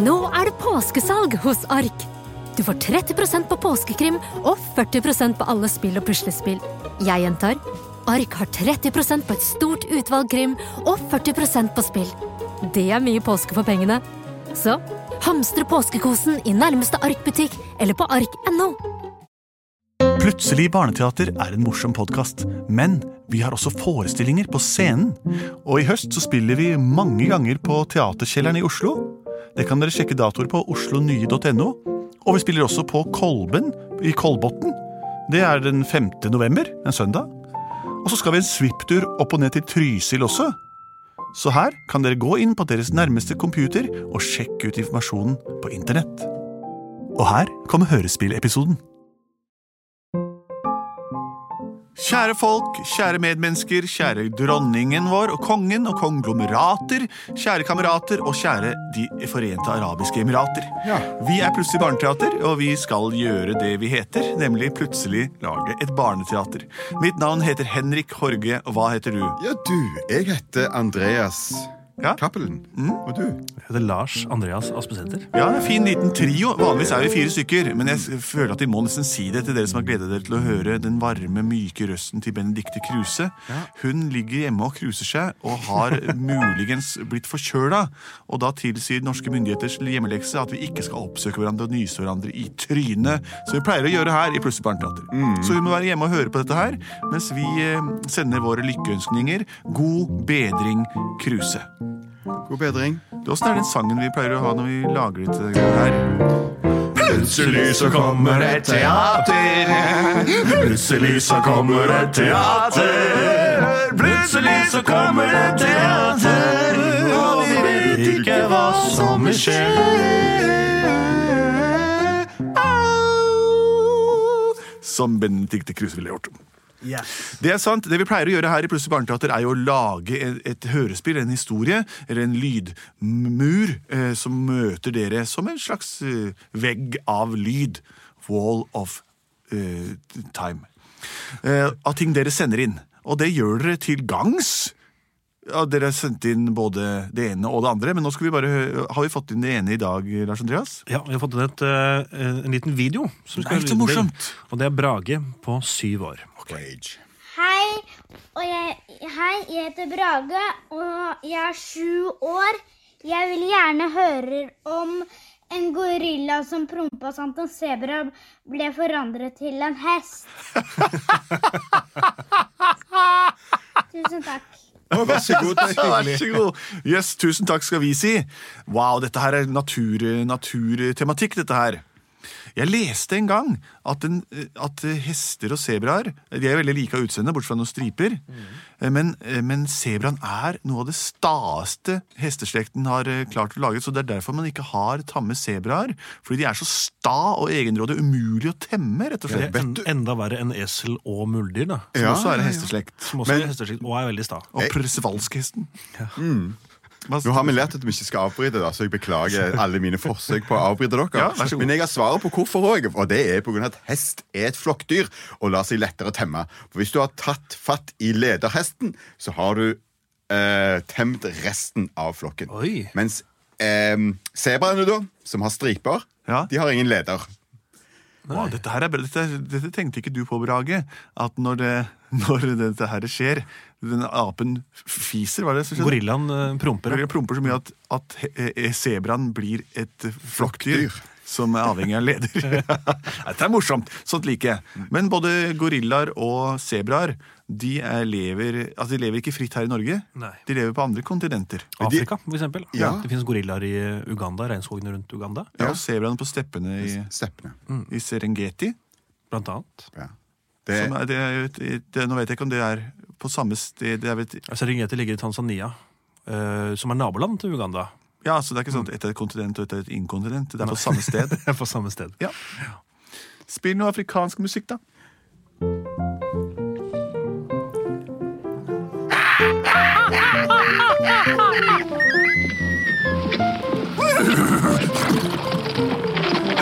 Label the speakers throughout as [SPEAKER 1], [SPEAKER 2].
[SPEAKER 1] Nå er det påskesalg hos Ark. Du får 30 på påskekrim og 40 på alle spill og puslespill. Jeg gjentar Ark har 30 på et stort utvalg krim og 40 på spill. Det er mye påske for pengene. Så hamstre påskekosen i nærmeste Ark-butikk eller på ark.no.
[SPEAKER 2] Plutselig barneteater er en morsom podkast, men vi har også forestillinger på scenen. Og i høst så spiller vi mange ganger på Teaterkjelleren i Oslo. Det kan dere sjekke datoer på oslonye.no. Og vi spiller også på Kolben i Kolbotn. Det er den 5. november, en søndag. Og så skal vi en svipptur opp og ned til Trysil også. Så her kan dere gå inn på deres nærmeste computer og sjekke ut informasjonen på internett. Og her kommer hørespillepisoden. Kjære folk, kjære medmennesker, kjære dronningen vår og kongen og konglomerater, kjære kamerater og kjære De forente arabiske emirater.
[SPEAKER 3] Ja.
[SPEAKER 2] Vi er Plutselig barneteater, og vi skal gjøre det vi heter, nemlig plutselig lage et barneteater. Mitt navn heter Henrik Horge, og hva heter du?
[SPEAKER 3] Ja, du, jeg heter Andreas
[SPEAKER 2] Ja.
[SPEAKER 3] Cappelen.
[SPEAKER 2] Mm.
[SPEAKER 3] Og du?
[SPEAKER 4] Jeg heter Lars Andreas Aspesæter.
[SPEAKER 2] Ja, en fin liten trio. Vanligvis er vi fire stykker, men jeg s- føler at vi må nesten si det til dere som har gledet dere til å høre den varme, myke røsten til Benedicte Kruse. Hun ligger hjemme og kruser seg, og har muligens blitt forkjøla. Og da tilsier norske myndigheters hjemmelekse at vi ikke skal oppsøke hverandre og nyse hverandre i trynet, som vi pleier å gjøre her i Plutselig barneteater. Så hun må være hjemme og høre på dette her, mens vi eh, sender våre lykkeønskninger. God bedring, Kruse.
[SPEAKER 3] God bedring.
[SPEAKER 2] Åssen er den sangen vi pleier å ha når vi lager ut det her?
[SPEAKER 3] Plutselig så kommer et teater. Plutselig så kommer et teater. Plutselig så kommer et teater. Og vi vet ikke hva som skjer.
[SPEAKER 2] Som Benedicte Kruse ville gjort. Det er sant. Det vi pleier å gjøre her i Plutselig barneteater, er jo å lage et, et hørespill, en historie, eller en lydmur, eh, som møter dere som en slags eh, vegg av lyd. Wall of eh, time. Eh, av ting dere sender inn. Og det gjør dere til gangs. Ja, dere har sendt inn både det ene og det andre, men nå skal vi bare, hø- har vi fått inn det ene i dag, Lars Andreas?
[SPEAKER 4] Ja, Vi har fått inn et, eh, en liten video. Som
[SPEAKER 2] Nei, så
[SPEAKER 4] lyde til.
[SPEAKER 2] morsomt!
[SPEAKER 4] Og det er Brage på syv år.
[SPEAKER 5] Hei, og jeg, hei, jeg heter Brage, og jeg er sju år. Jeg vil gjerne høre om en gorilla som prompa sånn at en sebra ble forandret til en hest. Tusen takk.
[SPEAKER 3] Vær så god. det
[SPEAKER 2] Ja,
[SPEAKER 3] er
[SPEAKER 2] vær
[SPEAKER 3] hyggelig.
[SPEAKER 2] så god. Yes, tusen takk skal vi si. Wow, dette her er natur, naturtematikk, dette her. Jeg leste en gang at, en, at hester og sebraer De er veldig like av utseende, bortsett fra noen striper.
[SPEAKER 3] Mm.
[SPEAKER 2] Men, men sebraen er noe av det staeste hesteslekten har eh, klart å lage. Så det er derfor man ikke har tamme sebraer. Fordi de er så sta og egenrådige. Umulig å temme, rett og
[SPEAKER 4] Det
[SPEAKER 2] slett.
[SPEAKER 4] er en, enda verre enn esel og muldyr, da.
[SPEAKER 2] Som
[SPEAKER 3] Ja,
[SPEAKER 2] også er
[SPEAKER 3] ja,
[SPEAKER 2] en
[SPEAKER 3] ja.
[SPEAKER 2] hesteslekt.
[SPEAKER 4] Som også er hesteslikt og er veldig sta.
[SPEAKER 2] Og Mm. persevalskhesten.
[SPEAKER 3] Nå har vi lært at vi ikke skal avbryte, da, så jeg beklager alle mine forsøk på å avbryte dere.
[SPEAKER 2] Ja, vær så god.
[SPEAKER 3] Men jeg har svaret på hvorfor òg, og det er pga. at hest er et flokkdyr og lar seg lettere temme. For hvis du har tatt fatt i lederhesten, så har du eh, temt resten av flokken.
[SPEAKER 4] Oi.
[SPEAKER 3] Mens eh, sebraene, da, som har striper,
[SPEAKER 2] Ja.
[SPEAKER 3] de har ingen leder.
[SPEAKER 2] Wow, dette, her er, bra. dette, dette tenkte ikke du på, Brage. At når, det, når dette her skjer Den apen fiser, var det? som skjedde?
[SPEAKER 4] Gorillaen eh, promper.
[SPEAKER 2] Gorilla promper så mye at, at he- eh, sebraen blir et flokkdyr. Som er avhengig av leder. Dette er morsomt! Sånt liker jeg. Men både gorillaer og sebraer de, er- lever, altså de lever ikke fritt her i Norge.
[SPEAKER 4] Nei.
[SPEAKER 2] De lever på andre kontinenter.
[SPEAKER 4] Afrika, for eksempel.
[SPEAKER 3] Ja.
[SPEAKER 4] Det finnes gorillaer i Uganda, regnskogene rundt Uganda,
[SPEAKER 2] Ja, Mm. og sebraene på steppene i,
[SPEAKER 3] Steppene.
[SPEAKER 2] i Serengeti.
[SPEAKER 4] blant annet.
[SPEAKER 3] Ja. Det,
[SPEAKER 2] Som er, det, er jo et- det, nå vet jeg ikke om det er på samme sted det er vel et
[SPEAKER 4] Serengeti ligger i Tanzania, eh, som er naboland til Uganda.
[SPEAKER 2] Ja, så det er ikke sånn at ett er et kontinent og ett er et inkontinent. Det er på samme sted.
[SPEAKER 4] Det er på samme sted.
[SPEAKER 2] Ja. Spill noe afrikansk musikk, da.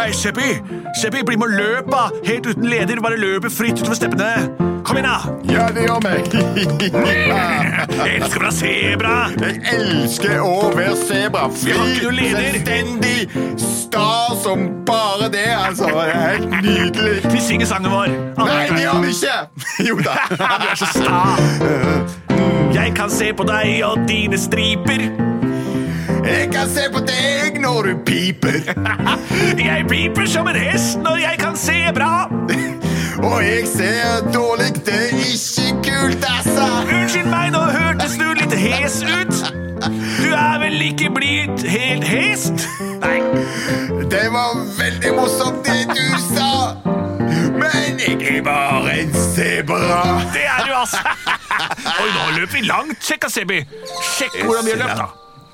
[SPEAKER 2] Hei, Seppi! Seppi, bli med og løp, da! Helt uten leder, bare løper fritt utover steppene. Kom igjen, da!
[SPEAKER 3] Ja, det gjør meg.
[SPEAKER 2] Jeg elsker bra sebra!
[SPEAKER 3] Jeg elsker å være sebra. Fri,
[SPEAKER 2] Vi har ikke noen leder.
[SPEAKER 3] selvstendig, sta som bare det, altså. Det er helt nydelig.
[SPEAKER 2] Vi synger sangen vår.
[SPEAKER 3] Nei, det gjør vi ikke! Jo da.
[SPEAKER 2] Du er så sta. Jeg kan se på deg og dine striper.
[SPEAKER 3] Jeg kan se på deg når du piper.
[SPEAKER 2] Jeg piper som en hest når jeg kan se bra.
[SPEAKER 3] Og jeg ser dårlig, det er ikke kult, altså.
[SPEAKER 2] Unnskyld meg, nå hørtes du litt hes ut. Du er vel ikke blitt helt hest? Nei.
[SPEAKER 3] Det var veldig morsomt det du sa. Men jeg er bare en sebra.
[SPEAKER 2] Det er du, altså. Oi, nå løp vi langt, sjekka Sebi. Sjekk hvordan vi har løpt, da.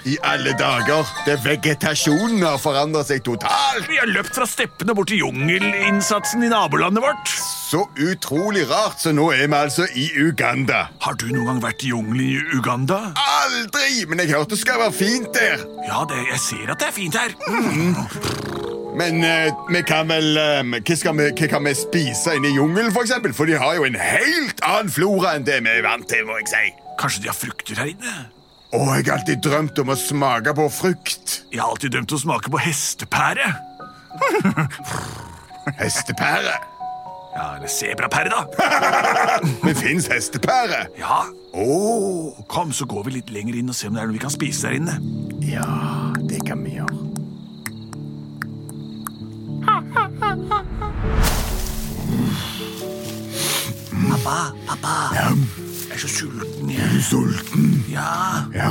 [SPEAKER 3] I alle dager. Det Vegetasjonen har forandret seg totalt.
[SPEAKER 2] Vi har løpt fra steppene bort til jungelinnsatsen i nabolandet vårt.
[SPEAKER 3] Så utrolig rart, så nå er vi altså i Uganda.
[SPEAKER 2] Har du noen gang vært i jungelen i Uganda?
[SPEAKER 3] Aldri! Men jeg hørte det skal være fint der.
[SPEAKER 2] Ja, det, jeg ser at det er fint her.
[SPEAKER 3] Men eh, vi kan vel eh, hva, skal vi, hva kan vi spise inne i jungelen, for eksempel? For de har jo en helt annen flora enn det vi er vant til, må jeg si.
[SPEAKER 2] Kanskje de har frukter her inne?
[SPEAKER 3] Å, jeg har alltid drømt om å smake på frukt.
[SPEAKER 2] Jeg har alltid dømt å smake på hestepære.
[SPEAKER 3] Hestepære.
[SPEAKER 2] Ja, eller sebrapære, da.
[SPEAKER 3] Men fins hestepære?
[SPEAKER 2] Ja. Kom, så går vi litt lenger inn og ser om det er noe vi kan spise der inne.
[SPEAKER 3] Ja, det kan vi gjøre.
[SPEAKER 2] Pappa, pappa. Jeg er så sulten. Jeg.
[SPEAKER 3] Sulten.
[SPEAKER 2] Ja.
[SPEAKER 3] Ja.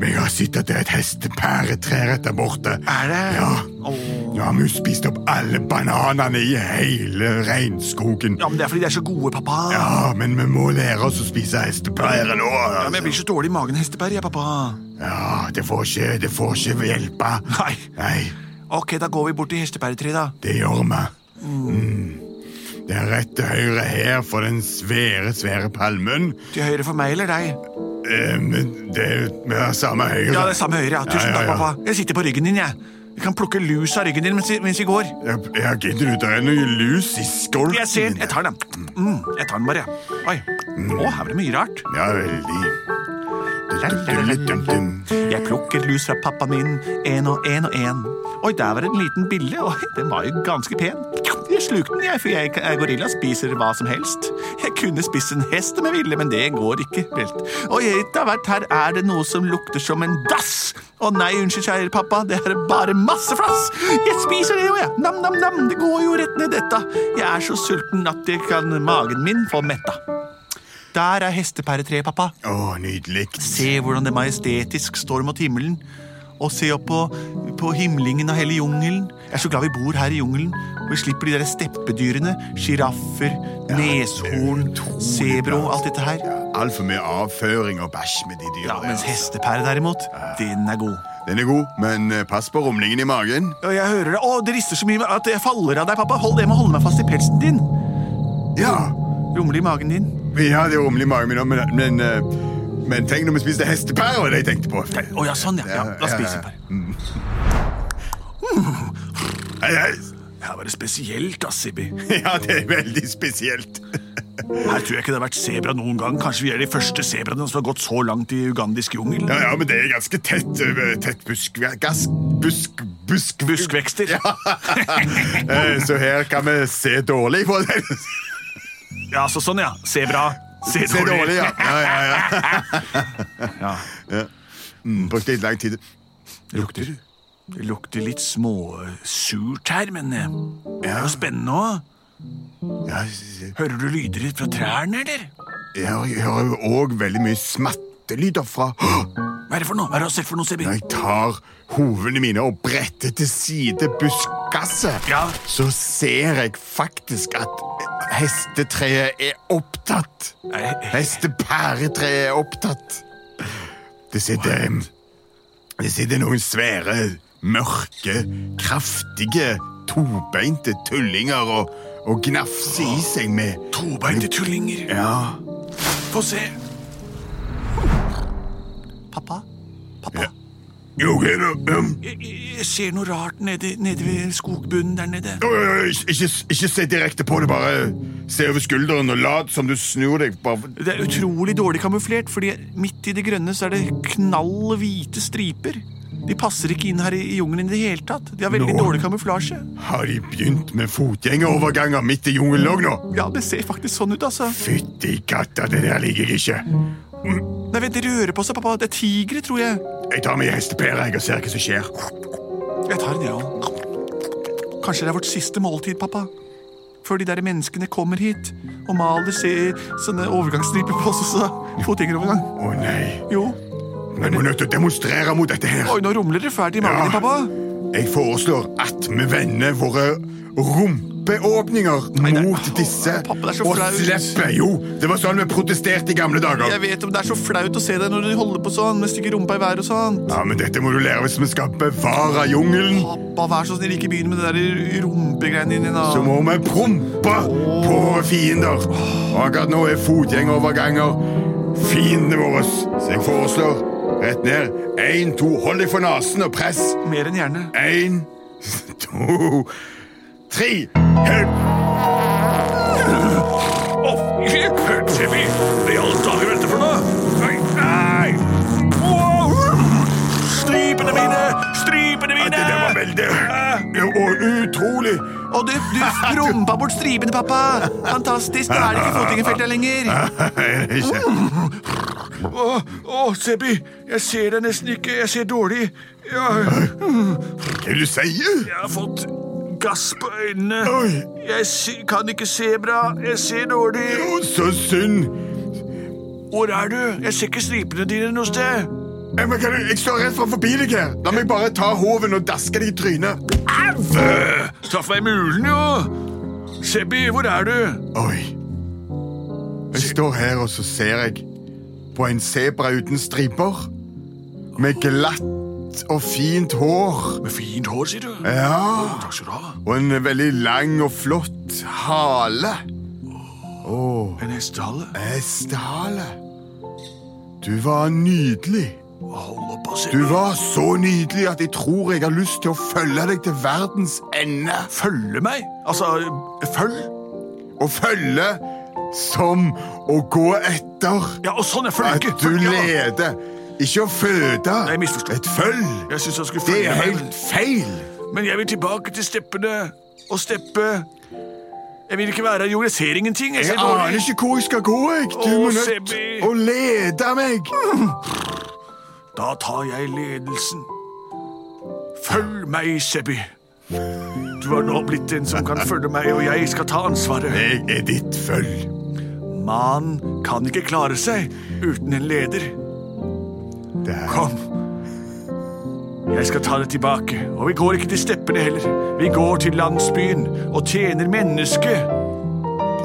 [SPEAKER 3] Men jeg har sett at det er et hestepæretre rett der borte.
[SPEAKER 2] Er det?
[SPEAKER 3] Ja.
[SPEAKER 2] Åh.
[SPEAKER 3] Nå har vi jo spist opp alle bananene i hele regnskogen.
[SPEAKER 2] ja, men det er fordi de er så gode, pappa.
[SPEAKER 3] Ja, men vi må lære oss å spise hestepære nå.
[SPEAKER 2] Ja, men jeg
[SPEAKER 3] Altså.
[SPEAKER 2] blir så dårlig i magen av hestepære, jeg, pappa.
[SPEAKER 3] Ja, det får ikke, det får ikke hjelpe.
[SPEAKER 2] Nei.
[SPEAKER 3] Nei,
[SPEAKER 2] Ok, da går vi bort til hestepæretreet, da.
[SPEAKER 3] det gjør vi. Mm. Det er rett til høyre her for den svære, svære palmen.
[SPEAKER 2] Til høyre for meg eller deg?
[SPEAKER 3] Eh, men det er vi har samme høyre.
[SPEAKER 2] Ja, det er samme høyre, ja. Tusen
[SPEAKER 3] Ja, ja,
[SPEAKER 2] takk,
[SPEAKER 3] ja.
[SPEAKER 2] pappa. Jeg sitter på ryggen din, jeg. Jeg kan plukke lus av ryggen din mens, vi- mens vi går.
[SPEAKER 3] Ja, ja, gidder du? Det er noe lus i skolten.
[SPEAKER 2] Jeg ser den. Jeg tar den. Mm, jeg tar den bare. Oi.
[SPEAKER 3] Mm.
[SPEAKER 2] Å, her var det mye rart.
[SPEAKER 3] Ja, veldig. Dum-dum-dum-dum.
[SPEAKER 2] Jeg plukker lus fra pappaen min, en og en og en. Oi, der var det en liten bille. Oi, den var jo ganske pen. Jeg slukte den, jeg, for jeg er gorilla og spiser hva som helst. Jeg kunne spist en hest om jeg ville, men det går ikke. Velt. Oi, etter hvert her er det noe som lukter som en dass. Å nei, unnskyld, kjære pappa, det er bare masse flass. Jeg spiser det jo, jeg. Nam-nam-nam, det går jo rett ned dette. Jeg er så sulten at jeg kan magen min få metta. Der er hestepæretreet, pappa.
[SPEAKER 3] Å, nydelig.
[SPEAKER 2] Se hvordan det majestetisk står mot himmelen. Og se opp på, på himlingen av hele jungelen. Jeg er så glad vi bor her i jungelen. Og vi slipper de der steppedyrene. Sjiraffer, neshorn,
[SPEAKER 3] Utrolig
[SPEAKER 2] sebro,
[SPEAKER 3] bra.
[SPEAKER 2] alt dette her.
[SPEAKER 3] Ja, Altfor mye avføring og bæsj med de
[SPEAKER 2] altså. Ja,
[SPEAKER 3] dyra. der,
[SPEAKER 2] Mens
[SPEAKER 3] altså.
[SPEAKER 2] hestepære, derimot, den er god.
[SPEAKER 3] Den er god, men eh, pass på rumlingen i magen.
[SPEAKER 2] Og jeg hører det. Å, det rister så mye at jeg faller av deg, pappa. Hold det med å holde meg fast i pelsen din.
[SPEAKER 3] Ja,
[SPEAKER 2] Rumle i magen din.
[SPEAKER 3] vi hadde jo rumle i magen min, men, men, eh, men tenk når vi spiste hestepære, var det jeg tenkte på.
[SPEAKER 2] Å ja, sånn, ja. ja la oss spise bare.
[SPEAKER 3] Hei, hei.
[SPEAKER 2] Her var det spesielt, ass, Sibbi.
[SPEAKER 3] Ja, det er veldig spesielt.
[SPEAKER 2] Her tror jeg ikke det har vært sebra noen gang. Kanskje vi er de første sebraene som har gått så langt i ugandisk jungel.
[SPEAKER 3] Ja, ja, men det er ganske tett, eh, tett busk... Gass, busk... Busk...
[SPEAKER 2] Buskvekster. Ja.
[SPEAKER 3] Eh, Så her kan vi se dårlig på det.
[SPEAKER 4] Altså,
[SPEAKER 2] så sånn, ja. Sebra. Se
[SPEAKER 3] Se dårlig, ja. ja, ja, ja.
[SPEAKER 2] Ja.
[SPEAKER 3] Mm, Brukte litt lang tid.
[SPEAKER 2] Det lukter Det lukter litt småsurt her, men eh, det er jo spennende òg.
[SPEAKER 3] Ja, s- s-
[SPEAKER 2] Hører du lyder fra trærne, eller?
[SPEAKER 3] jeg hører- jeg hører jo òg veldig mye smattelyder fra
[SPEAKER 2] Hva er det for noe? Hva er det du har sett for noe, Sebi?
[SPEAKER 3] Når jeg tar hovene mine og bretter til side buskaset,
[SPEAKER 2] Ja.
[SPEAKER 3] så ser jeg faktisk at hestetreet er opptatt.
[SPEAKER 2] Nei.
[SPEAKER 3] Hestepæretreet er opptatt. Det sitter Det sitter noen svære, mørke, kraftige, tobeinte tullinger og, og gnafser i seg med
[SPEAKER 2] Tobeinte tullinger.
[SPEAKER 3] Ja.
[SPEAKER 2] Få se. Pappa. Pappa.
[SPEAKER 3] Jo, ok, da. Um,
[SPEAKER 2] Jeg, jeg ser noe rart nede, nede ved skogbunnen der nede.
[SPEAKER 3] oi, oi, oi, ikke, ikke se direkte på det, bare se over skulderen og lat som du snur deg. Bare.
[SPEAKER 2] Det er utrolig dårlig kamuflert, fordi midt i det grønne så er det knall hvite striper. De passer ikke inn her i i jungelen i det hele tatt. De har veldig
[SPEAKER 3] Nå.
[SPEAKER 2] dårlig kamuflasje.
[SPEAKER 3] Har de begynt med fotgjengeroverganger midt i jungelen òg nå?
[SPEAKER 2] Ja, det ser faktisk sånn ut, altså.
[SPEAKER 3] Fytti katta, det der liker jeg ikke.
[SPEAKER 2] Nei, vent, de rører på seg, pappa. Det er tigre, tror jeg.
[SPEAKER 3] Jeg tar meg i hestepæra jeg, og ser hva som skjer.
[SPEAKER 2] Jeg tar en, jeg òg. Kanskje det er vårt siste måltid, pappa. Før de der menneskene kommer hit og maler se, sånne overgangsstriper på oss. Så. Fotgjengerovergang.
[SPEAKER 3] Å nei,
[SPEAKER 2] Jo.
[SPEAKER 3] vi må nødt til å demonstrere mot dette her.
[SPEAKER 2] Oi, nå rumler det fælt i magen din,
[SPEAKER 3] Ja.
[SPEAKER 2] pappa.
[SPEAKER 3] Jeg foreslår at vi vender våre rumpeåpninger
[SPEAKER 2] nei.
[SPEAKER 3] mot disse
[SPEAKER 2] Å, pappa, det er så
[SPEAKER 3] og
[SPEAKER 2] flaut.
[SPEAKER 3] slipper. Jo, det var sånn vi protesterte i gamle dager.
[SPEAKER 2] Jeg vet om det er så flaut å se deg når du holder på sånn med stygge rumpa i været og sånn.
[SPEAKER 3] Ja, men Dette må du lære hvis vi skal bevare jungelen.
[SPEAKER 2] Pappa, vær så snill, ikke begynn med det der rumpegreiene dine. da.
[SPEAKER 3] Så må vi prompe på fiender. Og akkurat nå er fotgjengeroverganger fiendene våre. Så jeg foreslår rett ned. Én, to, hold deg for nesen og press.
[SPEAKER 2] Mer enn gjerne.
[SPEAKER 3] Én, to, tre. Hjelp!
[SPEAKER 4] Jimmy, hva i alle dager er dette for noe? Nei, nei. Wow. Stripene mine! Stripene
[SPEAKER 3] Ja,
[SPEAKER 4] mine!
[SPEAKER 3] det der var veldig Ja, Og utrolig
[SPEAKER 2] Og du, du rumpa bort stripene, pappa! Fantastisk, nå er det ikke fotgjengerfeltet lenger.
[SPEAKER 3] Er det ikke?
[SPEAKER 4] Å, å, Sebby, jeg ser deg nesten ikke. Jeg ser dårlig. Jeg,
[SPEAKER 3] Hva er det du sier?
[SPEAKER 4] jeg har fått gass på øynene.
[SPEAKER 3] Oi.
[SPEAKER 4] Jeg se- kan ikke se bra. Jeg ser dårlig.
[SPEAKER 3] Å, så synd
[SPEAKER 4] Hvor er du? Jeg ser ikke stripene dine noe sted.
[SPEAKER 3] jeg, Eh, men, kan du, jeg står rett fra forbi deg her La meg bare ta hoven og daske deg i trynet
[SPEAKER 4] Øh, Traff meg i mulen, jo. Sebby, hvor er du?
[SPEAKER 3] Oi Jeg står her og så ser jeg På en zebra uten striper Med glatt og fint hår
[SPEAKER 4] Med fint hår, sier du.
[SPEAKER 3] Ja
[SPEAKER 4] Takk skal du ha.
[SPEAKER 3] Og en veldig lang og flott hale Åh
[SPEAKER 4] En hestehale.
[SPEAKER 3] Hestehale. Du var nydelig.
[SPEAKER 4] Hold opp, altså.
[SPEAKER 3] Du var så nydelig at jeg tror jeg har lyst til å følge deg til verdens ende.
[SPEAKER 4] Følge meg? Altså, følg?
[SPEAKER 3] Og følge som å gå etter
[SPEAKER 4] Ja, og sånn, jeg følger
[SPEAKER 3] at
[SPEAKER 4] ikke.
[SPEAKER 3] du
[SPEAKER 4] Følge, ja.
[SPEAKER 3] leder. Ikke å føde.
[SPEAKER 4] Nei, jeg misforsto.
[SPEAKER 3] Et følg.
[SPEAKER 4] Jeg synes jeg skulle
[SPEAKER 3] Det
[SPEAKER 4] følge
[SPEAKER 3] er
[SPEAKER 4] meg,
[SPEAKER 3] helt feil.
[SPEAKER 4] men- Men jeg vil tilbake til steppene og steppe. Jeg vil ikke være her, jo, jeg ser ingenting. Jeg
[SPEAKER 3] Jeg
[SPEAKER 4] ser
[SPEAKER 3] aner
[SPEAKER 4] dårlig.
[SPEAKER 3] ikke hvor jeg skal gå. Jeg. Du
[SPEAKER 4] Åh,
[SPEAKER 3] må nødt
[SPEAKER 4] Sebbi.
[SPEAKER 3] til å lede meg.
[SPEAKER 4] Da tar jeg ledelsen. Følg meg, Sebby. Du har nå blitt den som kan følge meg, og jeg skal ta ansvaret.
[SPEAKER 3] Jeg er ditt følg.
[SPEAKER 4] Man kan ikke klare seg uten en leder.
[SPEAKER 3] Det er-
[SPEAKER 4] Kom. Jeg skal ta det tilbake. Og vi går ikke til steppene heller. Vi går til landsbyen og tjener mennesket.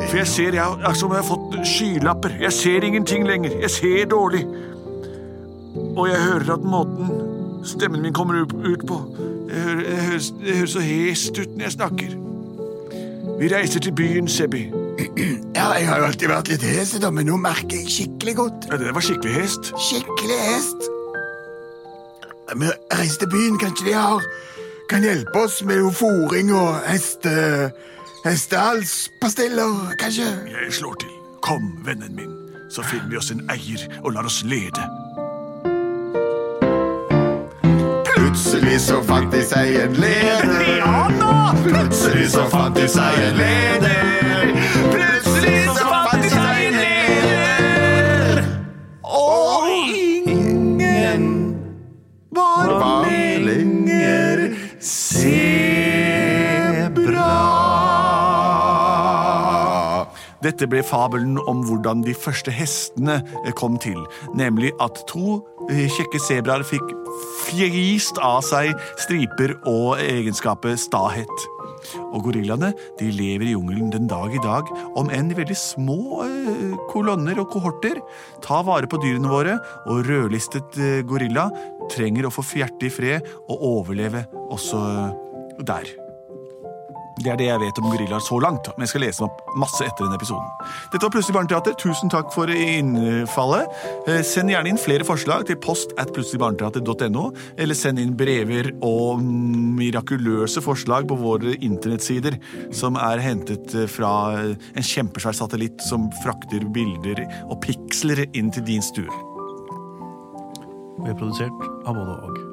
[SPEAKER 4] For jeg ser jeg, er som om jeg har fått skylapper. Jeg ser ingenting lenger. Jeg ser dårlig. Og jeg hører at måten stemmen min kommer ut ut på Det hø- det høres, det høres så hest ut når jeg snakker. Vi reiser til byen, Sebbi.
[SPEAKER 3] Ja, jeg har jo alltid vært litt hes, da, men nå merker jeg skikkelig godt.
[SPEAKER 4] Ja, det der var skikkelig hest.
[SPEAKER 3] skikkelig hest. Vi reiser til byen. Kanskje de har kan hjelpe oss med jo fôring og heste... Hestehalspastiller, kanskje?
[SPEAKER 4] Jeg slår til. Kom, vennen min, så finner vi oss en eier og lar oss lede.
[SPEAKER 3] Plutselig så fant de seg en leder. Plutselig så fant de seg en leder. Plutselig så fant de seg en leder. Og ingen var lenger sebra.
[SPEAKER 2] Dette ble fabelen om hvordan de første hestene eh, kom til, nemlig at to eh, kjekke sebraer fikk fjist av seg striper og egenskapet stahet. Og gorillaene de lever i jungelen den dag i dag, om enn i veldig små eh, kolonner og kohorter. Ta vare på dyrene våre, og rødlistet eh, gorilla trenger å få fjerte i fred og overleve også eh, der. Det er det jeg vet om gorillaer så langt, men jeg skal lese meg opp masse etter denne episoden. Dette var Plutselig barneteater. Tusen takk for innfallet. Eh, Send gjerne inn flere forslag til post at plutseligbarneteater.no, eller send inn brever og mirakuløse forslag på våre internettsider, som er hentet eh, fra en kjempesvær satellitt som frakter bilder og piksler inn til din stue.
[SPEAKER 6] Vi er produsert av både og.